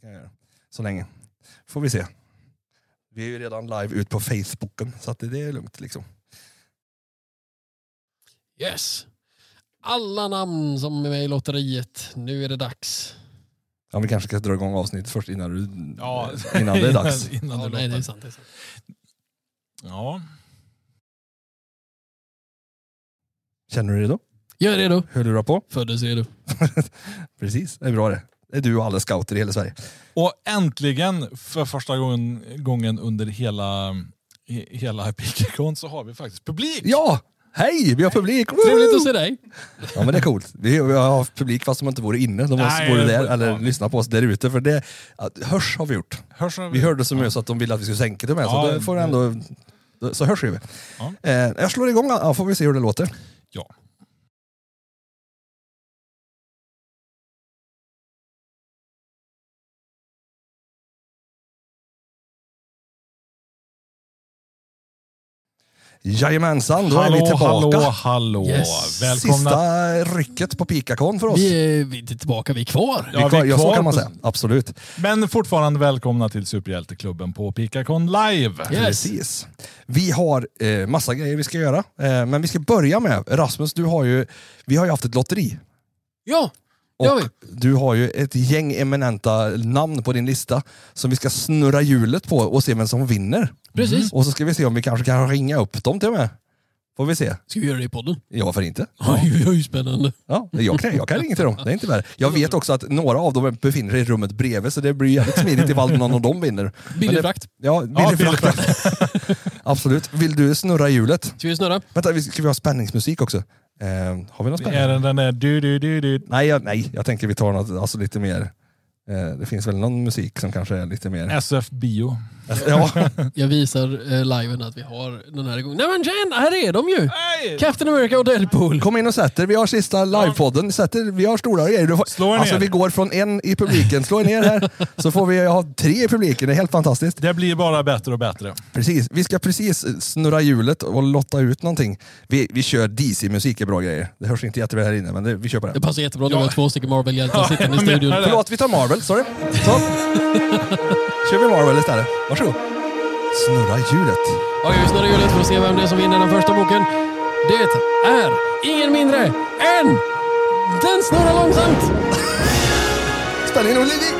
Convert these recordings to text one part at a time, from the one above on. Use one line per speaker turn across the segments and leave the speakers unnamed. kan jag göra. Så länge. Får vi se. Vi är ju redan live ut på Facebooken, så att det är lugnt liksom.
Yes. Alla namn som är med i lotteriet. Nu är det dags.
Ja, vi kanske ska dra igång avsnittet först innan, du,
Ja.
innan det är dags.
Innan
Ja,
du
nej, det är
låter.
sant. Det är sant.
Ja.
Känner du dig redo?
Jag är redo.
Hur lurar på?
Föddes redo.
Precis, det är bra det. Det är du och alla scouter i hela Sverige.
Och äntligen, för första gången, gången under hela, he- hela Pikakon så har vi faktiskt publik.
Ja! Hej! Vi har publik!
Trevligt
Woo!
att se dig.
Ja men det är coolt. Vi, vi har haft publik fast de inte vore inne. De
Nej,
Nej, vore
det-
där eller
ja.
lyssna på oss där ute. För det, att, hörs har vi gjort.
Hörs av
Vi hörde så mycket så att de ville att vi skulle sänka det med.
Ja,
så det får ändå... Så hörs vi.
Ja.
Eh, jag slår igång, ja, får vi se hur det låter.
Ja.
Jajamensan, då är vi
Hallå,
tillbaka.
hallå, hallå.
Yes.
Välkomna.
Sista rycket på Pikakon för oss.
Vi är, vi är inte tillbaka, vi är kvar.
Ja,
vi
vi är
ja, så
kvar
kan man
på-
säga. Absolut.
Men fortfarande välkomna till Superhjälteklubben på Pikakon live.
Yes.
Precis. Vi har eh, massa grejer vi ska göra. Eh, men vi ska börja med, Rasmus, du har ju, vi har ju haft ett lotteri.
Ja, det har
Och
vi.
du har ju ett gäng eminenta namn på din lista som vi ska snurra hjulet på och se vem som vinner.
Precis.
Och så ska vi se om vi kanske kan ringa upp dem till och med. Får vi se.
Ska vi göra det i podden?
Ja, varför inte?
Oj, oj, spännande.
Ja, jag, kan, jag kan ringa till dem, det är inte värre. Jag vet också att några av dem befinner sig i rummet bredvid så det blir jävligt smidigt ifall någon av dem vinner. Men
Billig
det-
frakt.
Ja,
Ja,
billig frakt. Absolut. Vill du snurra hjulet?
Ska vi snurra?
Vänta, vi- ska vi ha spänningsmusik också? Eh, har vi någon spänning?
Är det den där du, du, du, du?
Nej, jag, nej, jag tänker vi tar något alltså lite mer... Eh, det finns väl någon musik som kanske är lite mer...
SF Bio.
Ja,
Jag visar eh, liven att vi har den här igång. Nej men tjena, här är de ju! Captain America och Deadpool.
kom in och sätt er. Vi har sista livepodden. Sätt er. Vi har stora grejer. Du får,
Slå er ner.
Alltså, vi går från en i publiken. Slå er ner här. Så får vi ha tre i publiken. Det är helt fantastiskt.
Det blir bara bättre och bättre.
Precis. Vi ska precis snurra hjulet och lotta ut någonting. Vi, vi kör DC-musik är bra grejer. Det hörs inte jättebra här inne, men det, vi kör på
Det
det.
passar jättebra när vi
Ja.
har två stycken Marvel-hjältar
Ja,
sittande i
jag menar
studion.
det.
Förlåt, vi tar Marvel. Sorry. Så. kör vi Marvel istället. Varsågod. Snurra hjulet.
Ja, vi snurrar hjulet för att se vem det är som vinner den första boken. Det är ingen mindre än... Den snurrar långsamt!
Spänningen och Lili.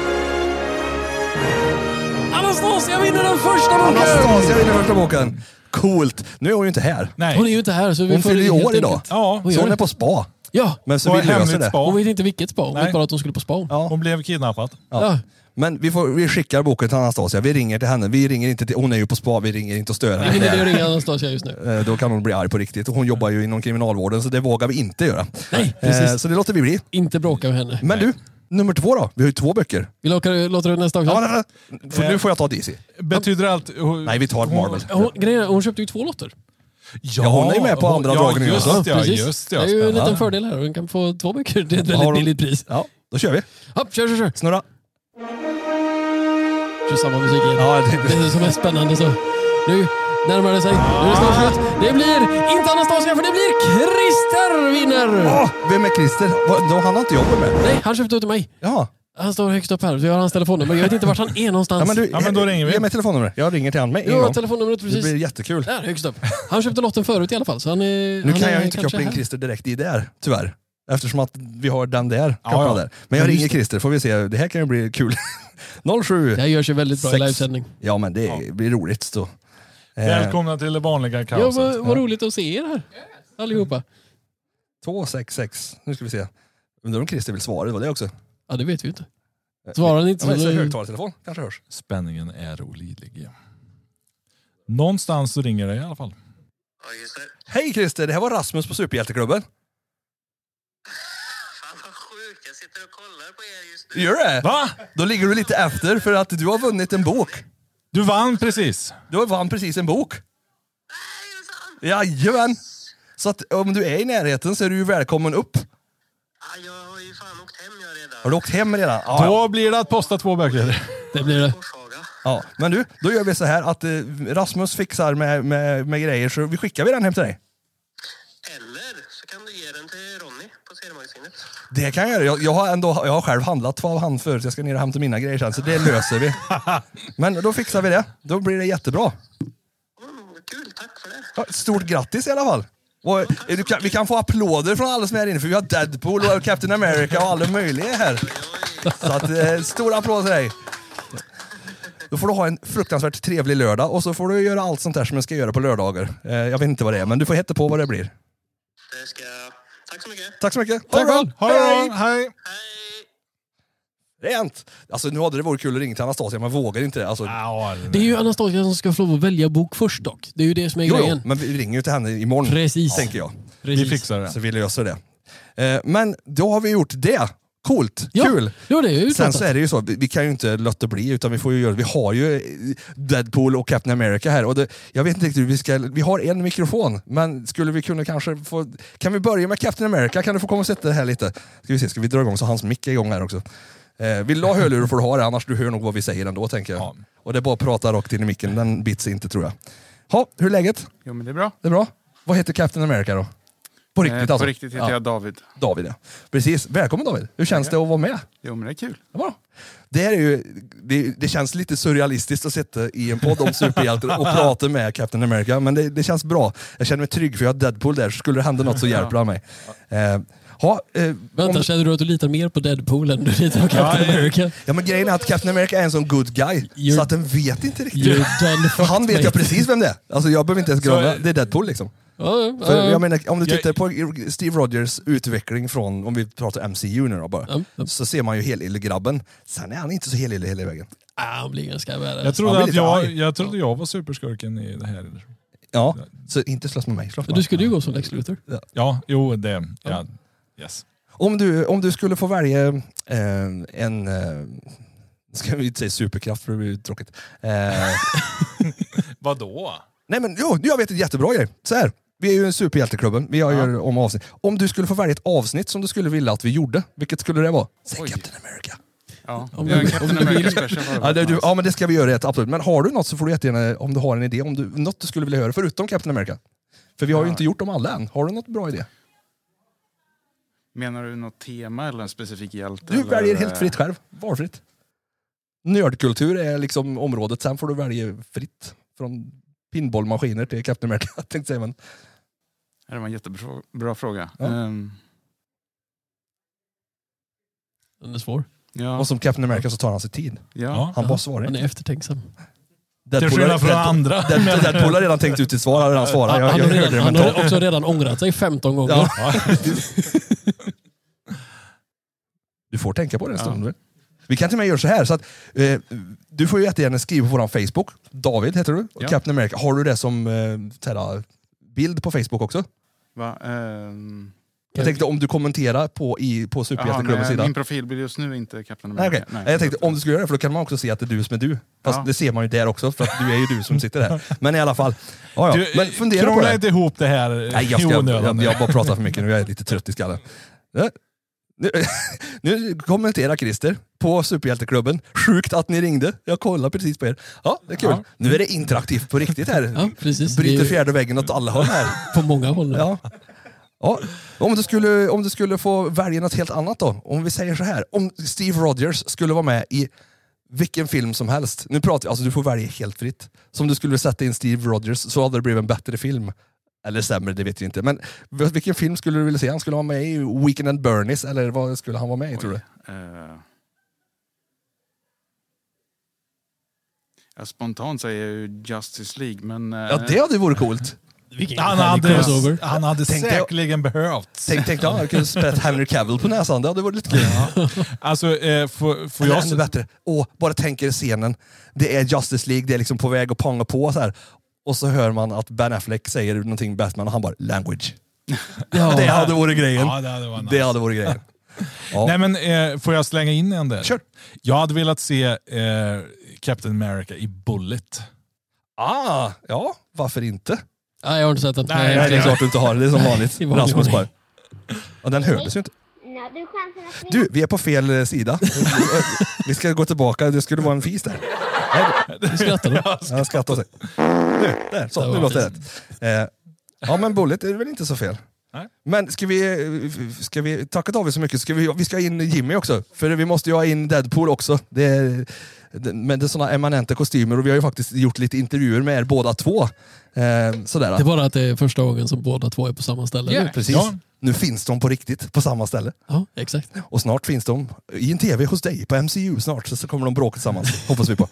Anastasia vinner den första boken!
Anastasia vinner första boken. Coolt. Nu är hon ju inte här.
Nej.
Hon är ju inte här så vi
Hon
får
fyller ju
helt
år idag.
enkelt-
Ja,
Oj,
Så
oj.
hon är på spa.
Ja,
Men så
Och
vi löser
hemligt
det.
spa.
hon vet inte vilket spa. Hon
Nej.
vet bara att hon skulle på spa. Ja.
Hon blev kidnappad.
Ja.
Men vi, får, vi skickar boken till Anastasia. Vi ringer till henne. Vi ringer inte till, hon är ju på spa. Vi ringer inte och stör
Jag hinner det att
henne.
ringa Anastasia just nu.
Eh, Då kan hon bli arg på riktigt. Och Hon jobbar ju inom kriminalvården så det vågar vi inte göra.
Nej,
Eh,
precis.
Så det låter vi bli.
Inte bråka med henne.
Men du, nummer två då? Vi har ju två böcker.
Vi låter, låter det nästa också.
Ja, nej, nej. Får- Nu får jag ta DC.
Betyder allt...
Nej, vi tar
hon-
Marvel.
Hon, grejen är, hon köpte ju två lotter.
Ja,
hon är ju med på
hon-
andra
ja,
dragningen
just,
också.
ja,
Precis.
just
det
ja.
är ju en liten
Spännande.
fördel här. Hon kan få två böcker. Det är ett
Har
väldigt
hon-
billigt pris.
Ja, då kör vi.
Ja, kör, kör, kör.
Snurra.
Kör samma musik igen.
Ja, det-
det är det som är spännande. Så. Nu närmar det sig. Nu är det snart slut. Det blir inte Anastasia, för det blir Christer vinner!
Åh, vem är Christer? Vad- då- Han har inte jag varit med.
Nej, han köpte ut till mig.
Jaha.
Han står högst upp här. Vi har hans telefonnummer. Jag vet inte vart han är någonstans.
Ja, men du, eh,
Ja, men då ringer vi.
Ge mig telefonnummer. Jag ringer till honom med en
jag har
gång.
telefonnumret
Det
precis.
blir jättekul.
Där, högst upp. Han köpte lotten förut i alla fall. Så han är,
Nu
han
kan
är
jag ju inte
kanske
koppla in
här.
Christer direkt i där, tyvärr. Eftersom att vi har den där
Ja,
kopplad
ja.
där. Men jag
Ja, just
ringer
det.
Christer, får vi se. Det här kan ju bli kul. 07.
Det här gör sig väldigt bra i
Sex.
livesändning.
Ja men det blir roligt då. Eh,
Välkomna till det vanliga
Ja, vad,
kaoset.
vad roligt att se er här. Allihopa.
266. Nu ska vi se. Undrar om Christer vill svara, det var det också.
Ja, det vet vi ju inte. Svarar ni inte
Ja, men, så
så...
högtalartelefon kanske hörs.
Spänningen är olidlig. Någonstans så ringer det i alla fall.
Ja, just det.
Hej Christer, det här var Rasmus på Superhjälteklubben.
Fan vad sjukt, jag sitter och kollar på er just nu.
Gör det?
Va?
Då ligger du lite efter för att du har vunnit en bok.
Du vann precis.
Du vann precis en bok.
Nej, är det sant?
Jajamän! Så att om du är i närheten så är du ju välkommen upp.
Ja, jag har ju fan åkt hem jag redan.
Har du åkt hem redan? Ja, ja.
Då blir det att posta två böcker.
Det blir det.
Forshaga.
Ja, men du, då gör vi så här att eh, Rasmus fixar med, med, med grejer så vi skickar vi den hem till dig.
Eller så kan du ge den till Ronny på seriemagasinet.
Det kan jag göra. Jag, jag, har, ändå, jag har själv handlat två av han förut, jag ska ner och hämta mina grejer sen, så det löser vi. Men då fixar vi det. Då blir det jättebra.
Mm, kul, tack för det.
Ja, Stort grattis i alla fall. Och, eh, du kan, vi kan få applåder från alla som är här inne, för vi har Deadpool och Captain America och alla möjliga här. Så att, eh, stor applåd till dig. Då får du ha en fruktansvärt trevlig lördag och så får du göra allt sånt där som man ska göra på lördagar. Eh, jag vet inte vad det är, men du får hetta på vad det blir.
Det ska... jag- Tack så mycket.
Tack så mycket. Ha
Tack
det bra.
själv.
Ha det bra, hej!
Hej!
Rent! Alltså nu hade det varit kul att ringa till Anastasia, men vågar inte. Alltså,
Ja,
Det är ju Anastasia som ska få lov att välja bok först dock. Det är ju det som är
jo, jo,
grejen.
men vi ringer ju till henne imorgon,
Precis.
tänker jag.
Vi
Precis.
fixar det.
Så vi löser det. Eh, men då har vi gjort det. Coolt,
Ja.
kul!
Jo, det är ju
Sen
utfattat.
så är det ju så, vi, vi kan ju inte låta bli, utan vi får ju göra, vi har ju eh, Deadpool och Captain America här. Och det, jag vet inte riktigt hur vi ska, vi har en mikrofon, men skulle vi kunna kanske få, kan vi börja med Captain America? Kan du få komma och sätta dig här lite? Ska vi se, ska vi dra igång så hans mick är igång här också? Eh, vill du ha hörlurar får du ha det, annars du hör nog vad vi säger ändå tänker jag.
Ja.
Och det är bara att prata rakt in i micken, den bits inte tror jag. Ha, hur är läget?
Jo men det är bra.
Det är bra? Vad heter Captain America då? På riktigt
Eh,
alltså?
På riktigt heter
ja.
jag David.
David ja. Precis, välkommen David! Hur känns det att vara med?
Jo men det är kul.
Det var. Det, här är ju, det, det känns lite surrealistiskt att sitta i en podd om superhjältar och prata med Captain America, men det, det känns bra. Jag känner mig trygg för jag har Deadpool där, så skulle det hända något så hjälper han mig. Eh, ha, eh,
Vänta,
om,
känner du att du litar mer på Deadpool än du litar på Captain America?
ja, men grejen är att Captain America är en sån good guy,
You're-
så att den vet inte riktigt.
You're done
För han vet jag
mate.
precis vem det är. Alltså jag behöver inte ens
Så-
grunna. Det är Deadpool liksom.
Ja, ja,
För
ja.
jag menar, om du
Jag-
tittar på Steve Rogers utveckling från, om vi pratar MCU nu då bara,
Ja, ja.
så ser man ju helyllegrabben. Sen är han inte så helylle hela vägen.
Ah, han blir ganska
Jag
badass.
Han
trodde,
blir
att
lite
jag,
arg.
jag trodde jag var superskurken i det här.
Ja, så inte slåss med mig. Slåss med
Du skulle ju gå som Lex Luthor.
Ja, jo det. Ja. Yes.
Om du, om du skulle få välja eh, en... Eh, ska vi inte säga superkraft för det blir ju tråkigt. Eh,
Vadå?
nej men jo, jag vet ett jättebra grej. Så här, vi är ju superhjälteklubben, vi gör om avsnitt. Om du skulle få välja ett avsnitt som du skulle vilja att vi gjorde, vilket skulle det vara? Säg
Oj.
Captain America.
Ja.
Om
Om jag är
du-
en
om du
Captain
vill.
America special. alltså. var det
Ja, det, du,
nice.
ja men det ska vi göra, helt absolut. Men har du något så får du jättegärna, om du har en idé, om du, något du skulle vilja höra förutom Captain America. För vi har ju
Ja.
inte gjort dem alla än. Har du något bra idé?
Menar du något tema eller en specifik hjälte?
Du
eller? eh,
väljer helt fritt själv. Valfritt. Nördkultur är liksom området. Sen får du välja fritt. Från pinbollmaskiner till Captain America. tänkte jag säga, men
eh, Det var en jättebra bra fråga. Ehm,
Ja.
Ja.
Den är svår.
ja,
Och som Captain America så tar han sig tid.
ja.
Ja.
Han bara svarar
Han
inte.
är eftertänksam.
Till
Deadpool
skillnad
har-
från
Deadpool-
andra.
Deadpool- Deadpool har redan tänkt ut sitt svar. Han har redan svarat.
Han,
Jag,
han,
jag
har
hörde
redan,
det
han har
mentalt.
också redan ångrat sig 15 gånger.
Ja.
Ja.
Du får tänka på det en
Ja.
stund. Vi kan till och med göra så här. Så att, eh, du får ju jättegärna skriva på vår Facebook. David heter du.
Ja.
Captain America. Har du det som eh, såhär, bild på Facebook också?
Va? ehm,
Jag tänkte om du kommenterar på, i, på
jaha,
Superhjälteklubbens
nej,
sida.
min profilbild just nu är inte Captain
Nej,
America.
okej. Nej, jag tänkte om du skulle göra det, för då kan man också se att det är du som är du. Fast
Ja.
det ser man ju där också, för att du är ju du som sitter här. Men i alla fall. Ja, ja.
Du,
Men fundera på
krångla
det.
inte ihop det här
Nej, jag, ska,
i
jag,
onödan
jag,
nu.
jag bara pratar för mycket nu, jag är lite trött i skallen. Ja. Nu, nu kommenterar Christer på Superhjälteklubben. Sjukt att ni ringde. Jag kollar precis på er. Ja, det är kul.
Ja.
Nu är det interaktivt på riktigt här.
Ja, precis. Det
Bryter
är ju
fjärde väggen åt alla håll här.
på många håll nu.
Ja. Ja. Om, du skulle, om du skulle få välja något helt annat då? Om vi säger så här, om Steve Rogers skulle vara med i vilken film som helst. Nu pratar vi, alltså du får välja helt fritt. Så om du skulle sätta in Steve Rogers så hade det blivit en bättre film. Eller sämre, det vet vi inte. Men v- vilken film skulle du vilja se? Han skulle vara med i Weekend at Bernies, eller vad skulle han vara med i tror du?
Eh, ja, spontant säger jag ju Justice League, men... eh,
Ja, det hade vore coolt.
Vilken
Han
härlig crossover.
hade, han hade
Tänkte jag-
säkerligen behövt.
Tänk, tänk dig, han kunde spett Henry Cavill på näsan. Det hade varit lite kul.
Alltså, eh, får, får
Eller
jag...
ännu bättre. Åh, bara tänk er scenen. Det är Justice League, det är liksom på väg att panga på så här. Och så hör man att Ben Affleck säger någonting Batman och han bara “language”.
Ja.
Det hade varit grejen.
Ja, det hade varit nice.
Det hade varit grejen. Ja.
Nej, men, eh, får jag slänga in en där?
Kör.
Jag hade velat se eh, Captain America i Bullet.
Ah, ja, varför inte?
Nej, jag har inte sett den.
Nej,
Nej,
det är
jag-
klart du inte har det. Det är som vanligt.
i vanlig
Rasmus bara.
ordning.
Ja, den hördes ju inte.
Nu hade du chansen att vinna.
Du, vi är på fel eh, sida. Vi ska gå tillbaka. Det skulle vara en fis där.
Du skrattar då.
Han skrattar åt sig. Nu, där, så, nu låter det rätt. Eh, Ja, men Bullet är väl inte så fel?
Nej.
Men ska vi, ska vi tacka David så mycket, ska vi, vi ska in Jimmy också. För vi måste ju ha in Deadpool också. Det är, det, men det är såna eminenta kostymer och vi har ju faktiskt gjort lite intervjuer med er båda två. Eh, sådär.
Det är bara att det är första gången som båda två är på samma ställe. nu.
Precis.
Ja.
Nu finns de på riktigt på samma ställe.
Ja, exakt.
Och snart finns de i en tv hos dig på MCU snart. Så, så kommer de bråka tillsammans, hoppas vi på.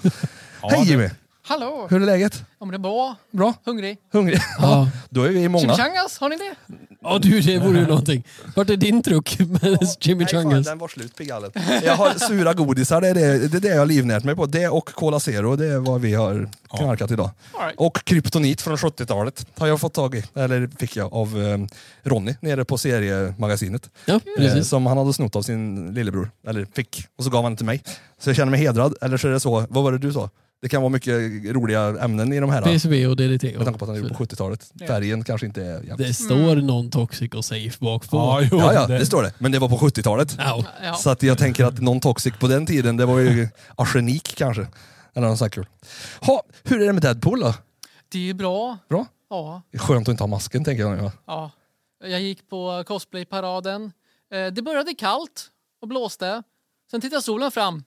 Hej
det-
Jimmy!
Hallå!
Hur är läget?
Ja, men det är bra.
Bra?
Hungrig.
Hungrig?
Ja.
Då är vi många.
Chimichangas, har ni det?
Ja du, det vore ju någonting. Vart är din truck med
Nej,
chimichangas?
fan, den var slut pigallen. Jag har sura godisar, det är det, det, är det jag har livnärt mig på. Det och Cola Zero, det är vad vi har knarkat idag.
All right.
Och kryptonit från 70-talet har jag fått tag i, eller fick jag av eh, Ronny nere på seriemagasinet.
Ja,
Eh,
precis.
som han hade snott av sin lillebror, eller fick, och så gav han det till mig. Så jag känner mig hedrad, eller så är det så, vad var det du sa? Det kan vara mycket roliga ämnen i de här.
PCB och DDT.
Med
Och,
tanke på att han gjorde på 70-talet. Färgen kanske inte är jämn.
det står någon toxic och safe bak på.
Ja, jo,
Ja, ja, det står det. Men det var på 70-talet.
Au.
Ja.
Så att jag tänker att någon toxic på den tiden, det var ju arsenik kanske. Eller något sånt kul. Ha, hur är det med Deadpool då?
Det är ju bra.
Bra?
Ja,
Skönt att inte ha masken tänker jag nu. va?
ja. Jag gick på cosplayparaden. Eh, Det började kallt och blåste. Sen tittade solen fram. Eh,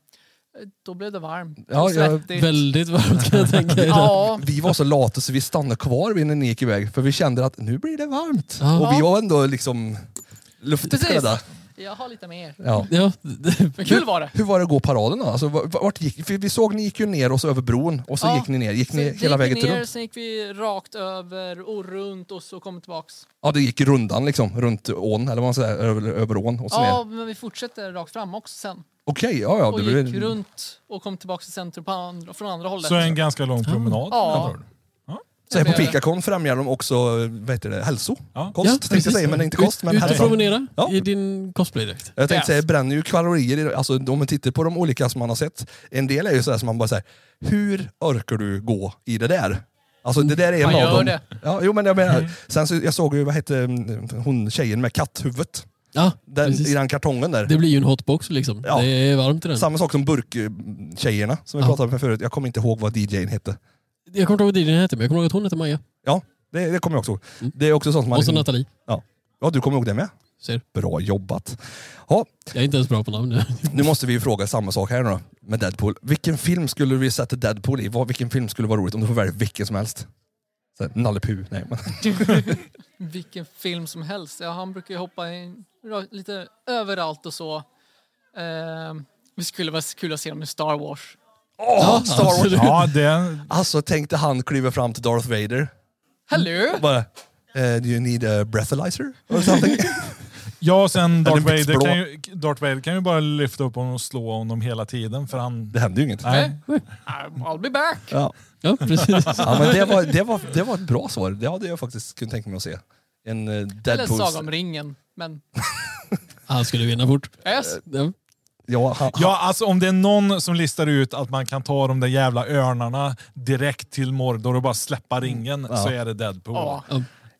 Då blev det varmt
Ja,
och
jag-
svettigt.
Väldigt varmt kan jag tänka mig.
Ja,
Vi var så lata så vi stannade kvar vid när ni gick iväg för vi kände att nu blir det varmt.
Ja.
Och vi var ändå liksom luftigt
Precis.
klädda.
jag har lite mer.
Ja.
Ja, det-
Men kul var det.
Hur var det att gå paraden då? Alltså, va- vart gick, för vi såg ni gick ju ner och så över bron och så
Ja.
gick ni ner. Gick ni
Sen
hela
gick vi
vägen till
ner,
runt?
Sen gick vi rakt över och runt och så kom vi tillbaks.
Ja, det gick rundan liksom, runt ån eller vad man säger, över, över ån och så
Ja,
ner.
men vi fortsätter rakt fram också sen.
Okej, ja ja.
och
det
gick
blev-
runt och kom tillbaka till centrum på andra, från andra hållet.
Så en ganska lång promenad.
Ja.
med andra ord.
Så här på
Jag blev-
Pikakon främjar de också vad heter det, hälso.
Ja.
Kost
Ja,
tänkte jag säga,
precis.
men det är inte kost. Men
ut och
hälsa.
promenera
Ja.
i din cosplaydräkt.
Jag tänkte
Yes.
säga, det bränner ju kalorier. i det. Alltså, om man tittar på de olika som man har sett. En del är ju sådär som man bara säger, hur orkar du gå i det där? Alltså det där är en
Man
av
gör
dem.
det.
Ja, jo, men jag
Mm.
menar, sen så, jag såg ju, vad hette mm, hon tjejen med katthuvudet?
Ja,
Den,
precis.
I den kartongen där.
Det blir ju en hotbox liksom.
Ja.
Det är varmt i den.
Samma sak som burktjejerna som vi
Ja.
pratade om förut. Jag kommer inte ihåg vad DJn hette.
Jag kommer inte ihåg vad DJn hette, men jag kommer ihåg att hon hette Maja.
Ja, det, det kommer jag också ihåg. Det är också sånt som man...
Mm. Och så Nathalie.
ja, du kommer ihåg det med?
Ser.
Bra jobbat. Ja,
Jag är inte ens bra på namn.
Nu måste vi ju fråga samma sak här nu då, med Deadpool. Vilken film skulle vi sätta Deadpool i? Vad- Vilken film skulle vara roligt? Om du får välja vilken som helst. Så här, Nalle Puh, nej men.
Vilken film som helst. Ja, han brukar ju hoppa in ra- lite överallt och så. Ehm, det skulle vara kul att se dem i Star Wars.
Åh, Star Wars!
absolut.
Ja, det,
Alltså tänkte han kliva fram till Darth Vader.
Hallå!
Bara, eh, do you need a breathalyzer? Or something?
ja och sen Darth
Eller
Vader,
blå.
kan ju, Darth Vader kan ju bara lyfta upp honom och slå honom hela tiden för han...
det hände ju inget.
Nej.
I'll be back!
Ja.
Ja, precis.
Ja, men det, var, det, var, det var ett bra svar. Det hade jag faktiskt kunnat tänka mig att se. En eh,
Eller
Deadpool...
Saga om ringen. Men
Han skulle vinna fort.
yes,
Ja.
Ja, han,
Ja, alltså om det är någon som listar ut att man kan ta de där jävla örnarna direkt till Mordor och bara släppa
Mm.
ringen så är det Deadpool.
ja.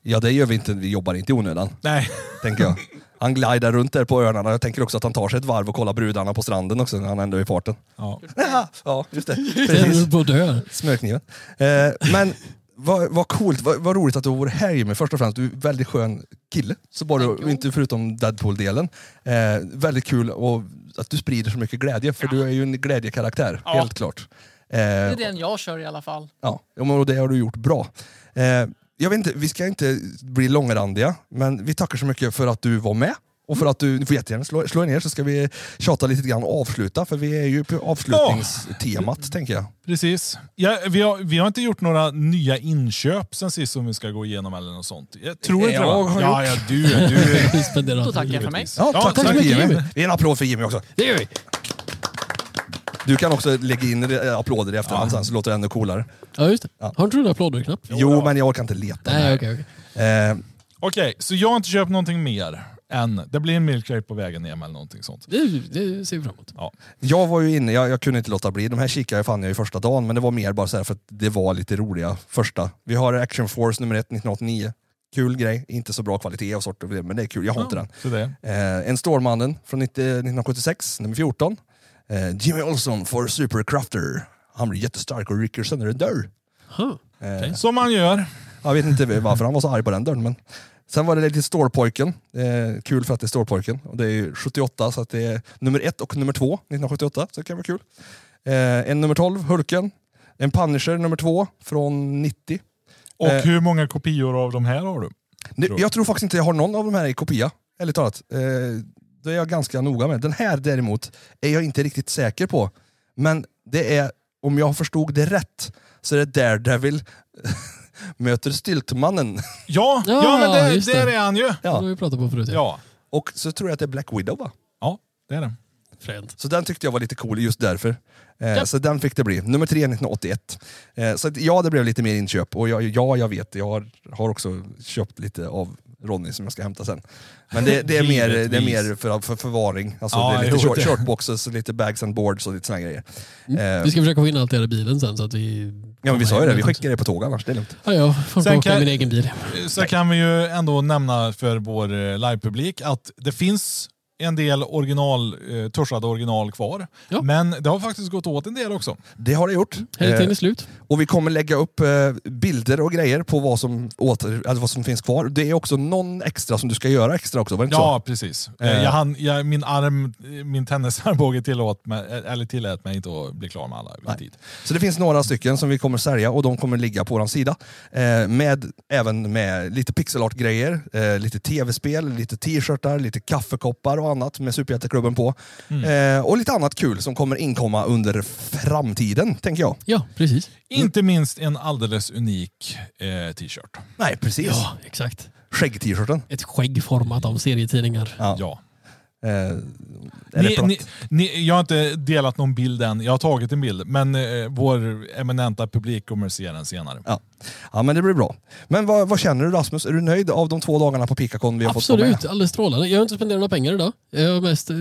ja, det gör vi inte. Vi jobbar inte i onödan.
Nej,
tänker jag. Han glidar runt där på öarna. Jag tänker också att han tar sig ett varv och kollar brudarna på stranden också när han ändå är i farten.
ja.
Ja, ja just det.
Den
Precis.
är på att dö.
Smörkniven. Eh, men vad, vad coolt, vad, vad roligt att du var här Jimmy. Först och främst, du är en väldigt skön kille. Så bara, och inte förutom Deadpool-delen. Eh, väldigt kul och att du sprider så mycket glädje, för du är ju en glädjekaraktär, helt klart. Eh,
Det är den jag kör i alla fall.
Ja, ja, men och det har du gjort bra. Eh, jag vet inte, vi ska inte bli långrandiga, men vi tackar så mycket för att du var med. Och
Mm.
för att du, du får jättegärna slå, slå er ner så ska vi tjata lite grann och avsluta, för vi är ju på avslutningstemat tänker jag.
precis. Ja, vi, har, vi har inte gjort några nya inköp sen sist som vi ska gå igenom eller något sånt. Jag tror inte
Jag
det. va?
har
ja, ja, du, du.
Spenderar
Då tackar jag för mig.
Ja,
Ja,
tack,
tack
så mycket Jimmy.
Jimmy.
Vi ger en applåd för Jimmy också.
Det gör vi.
Du kan också lägga in eh, applåder i efterhand sen så låter det ännu coolare.
Ja, just det. Har inte du en applådknapp?
Jo, men jag orkar inte leta.
Nej, okej. okej.
Eh,
Okej, så jag har inte köpt någonting mer än det blir en milkshake på vägen hem eller någonting sånt.
Det, det ser vi fram emot.
Ja.
Jag var ju inne, jag, jag kunde inte låta bli. De här kikade jag fann jag ju första dagen, men det var mer bara så här för att det var lite roliga första. Vi har Action Force nummer ett 1989. Kul grej, inte så bra kvalitet och sort av det, men det är kul. Jag har inte den.
Så det.
Eh, en Stålmannen från 90, 1976, nummer 14. Eh, Jimmy Olsson för Supercrafter. Han blir jättestark och rycker sönder en dörr.
Huh.
Eh,
Som man gör.
jag vet inte varför han var så arg på den dörren, men Sen var det lite Stålpojken. Eh, kul för att det är Stålpojken. Och det är ju 78, så att det är nummer ett och nummer två 1978. Så det kan vara kul. Eh, en nummer 12, Hulken. En Punisher nummer två från 90.
Och
Eh.
hur många kopior av de här har du?
Nu,
Tror jag.
jag tror faktiskt inte jag har någon av de här i kopia, ärligt talat. Eh, det är jag ganska noga med. Den här däremot är jag inte riktigt säker på. Men det är, om jag förstod det rätt, så är det Daredevil möter Stiltmannen.
Ja, ja,
Ja,
men där,
just det.
där är han ju.
Det
Ja.
har vi pratat på förut.
Ja,
Och så tror jag att det är Black Widow va?
ja det är det.
Fränt.
Så den tyckte jag var lite cool just därför. Eh, Så den fick det bli. Nummer tre 1981. Eh, så att, ja, det blev lite mer inköp. Och ja, ja jag vet, jag har, har också köpt lite av Ronny som jag ska hämta sen. Men det, det, är, mer, det är mer för, för förvaring. Alltså,
Ja,
det är lite
jo,
short,
det-
shortboxes, och lite bags and boards och lite såna grejer. Eh,
Vi ska försöka få in allt det här i bilen sen så att vi...
ja, men vi sa ju det, vi skickar det på tåg annars. Det är lugnt.
Ja, ja. Får
Sen
inte åka
kan-
i min egen bil.
Eh, Så kan vi ju ändå nämna för vår eh, livepublik att det finns en del original, eh, tuschade original kvar.
Ja.
Men det har faktiskt gått åt en del också.
Det har det gjort.
Hälften
Eh,
är slut.
Och vi kommer lägga upp eh, bilder och grejer på vad som, åter, alltså vad som finns kvar. Det är också någon extra som du ska göra extra också, var det inte så?
Ja, precis. Eh,
Eh.
Jag hann, jag, min arm, eh, min tennisarmbåge tillåt mig, eh, eller tillät mig inte att bli klar med alla i
Nej.
tid.
Så det finns några stycken som vi kommer sälja och de kommer ligga på vår sida. Eh, med, även med lite pixelart-grejer, eh, lite tv-spel, lite t-shirtar, lite kaffekoppar och annat med Superhjälteklubben på.
Mm.
Eh, och lite annat kul som kommer inkomma under framtiden, tänker jag.
Ja, precis.
Inte minst en alldeles unik eh, t-shirt.
Nej, precis.
Ja, exakt.
Skägg-t-shirten.
Ett skägg format av serietidningar.
Ja.
Ja.
Eh, är det
Ni,
platt?
ni, ni, jag har inte delat någon bild än. Jag har tagit en bild, men eh, vår eminenta publik kommer se den senare.
Ja. ja, men det blir bra. Men vad, vad känner du Rasmus? Är du nöjd av de två dagarna på Pikakon vi har fått vara
Absolut,
med?
alldeles strålande. Jag har inte spenderat några pengar idag. Jag har mest eh,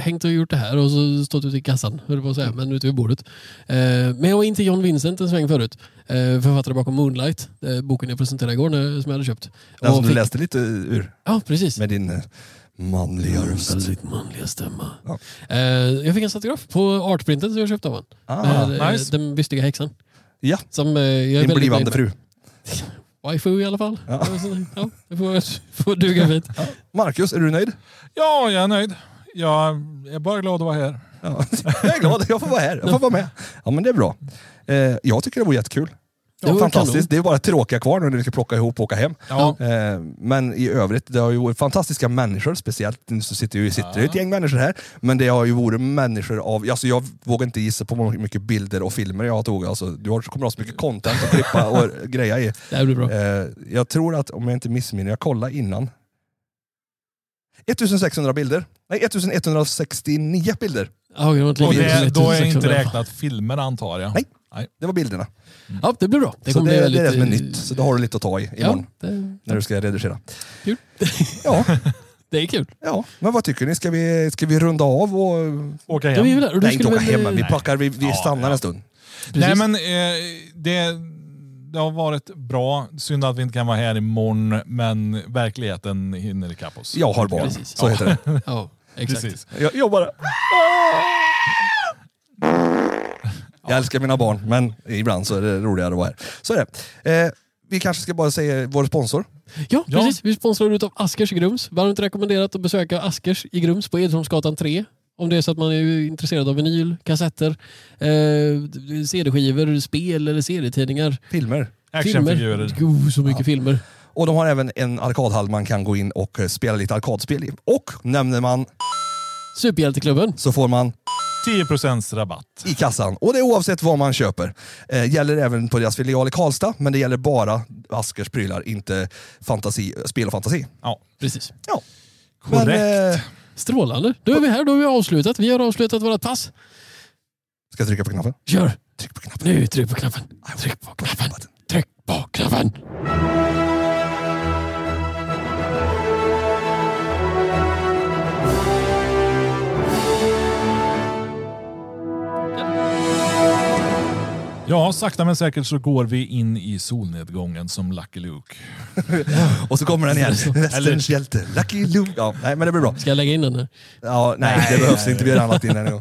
hängt och gjort det här och så stått ute i kassan, höll jag på att
Mm.
säga, men ute vid bordet. Eh, men jag var inte John Vincent en sväng förut. Eh, författare bakom Moonlight, eh, boken jag presenterade igår när, som jag hade köpt.
Den som
Och
Alltså, du
fick-
läste lite ur
Ja, precis.
med din eh, manliga röst.
Väldigt manliga stämma.
Ja.
Eh, jag fick en autograf på artprinten som jag köpte av honom.
Ah,
Eh,
nice.
Den bystiga häxan.
Ja,
Som, eh, jag är
din
väldigt nöjd
blivande
med.
fru.
Waifu i alla fall.
Ja.
Ja. Ja, det får, får duga fint.
Marcus, är du nöjd?
Ja, jag är nöjd. Jag är bara glad att vara här.
Ja. Jag är glad, jag får vara här. Jag får vara med. Ja, men det är bra. Eh, jag tycker det var jättekul.
Det
Ja,
var kanon.
fantastiskt. Det är bara tråkiga kvar nu när vi ska plocka ihop och åka hem.
Ja.
Eh, men i övrigt, det har ju varit fantastiska människor, speciellt nu så sitter ju sitter ju ett gäng människor här. Men det har ju varit människor av, alltså jag vågar inte gissa på hur mycket bilder och filmer jag tog. Alltså, du har, kommer ha så mycket content att klippa och greja i.
Det här blir bra.
Eh, jag tror att, om jag inte missminner, jag kollade innan. 1600 bilder. Nej, 1169 bilder.
Ja, jag har inte
Och
lika
det,
mycket
då är
som
inte
1600.
räknat filmer antar jag.
Nej. Det var bilderna.
Ja, det blir bra.
så
kommer
det,
bli
det är det som är
väldigt, eh,
nytt. Så då har du lite att ta i imorgon,
Ja, det,
när du ska redigera.
Kul.
Ja,
det är kul.
ja, men vad tycker ni? Ska vi, ska vi runda av och...
Åka
Ja,
hem.
vi är väl där. Och du
Nej, inte
skulle
åka
väl,
hem, men vi
eh,
packar, vi, vi
Ja,
stannar
ja.
en stund.
Nej
precis.
men eh, det, det har varit bra. Synd att vi inte kan vara här imorgon, men verkligheten hinner ikapp oss.
Jag har barn,
Precis.
så
Ja.
heter det.
Ja, exakt.
Precis.
Jag, jag bara... Jag älskar mina barn, men ibland så är det roligare att vara här. Så är det. Eh, vi kanske ska bara säga vår sponsor.
Ja,
Ja.
precis. Vi sponsrar utav Askers i Grums. Varmt rekommenderat att besöka Askers i Grums på Edholmsgatan 3. Om det är så att man är intresserad av vinyl, kassetter, eh, CD-skivor, spel eller serietidningar.
Filmer.
Filmer.
Actionfigurer.
Gud, så mycket filmer.
Och de har även en arkadhall man kan gå in och eh, spela lite arkadspel i. Och nämner man
Superhjälteklubben.
så får man
10% rabatt.
i kassan. Och det är oavsett vad man köper. Eh, gäller även på deras filial i Karlstad, men det gäller bara Askers prylar, inte fantasi, spel och fantasi.
Ja.
Precis.
Ja.
Korrekt.
Men, eh,
Strålande. Då är vi här. Då har vi avslutat. Vi har avslutat vårt pass.
ska jag trycka på knappen?
Kör!
Tryck på knappen.
Nu, tryck på knappen. Tryck på knappen. Tryck på knappen.
Ja, sakta men säkert så går vi in i solnedgången som Lucky Luke.
Och så kommer den igen. Västerns hjälte. Lucky Luke. Ja, nej, men det blir bra.
Ska jag lägga in den här?
Ja, nej, det behövs inte. Vi gör annat innan. Eh,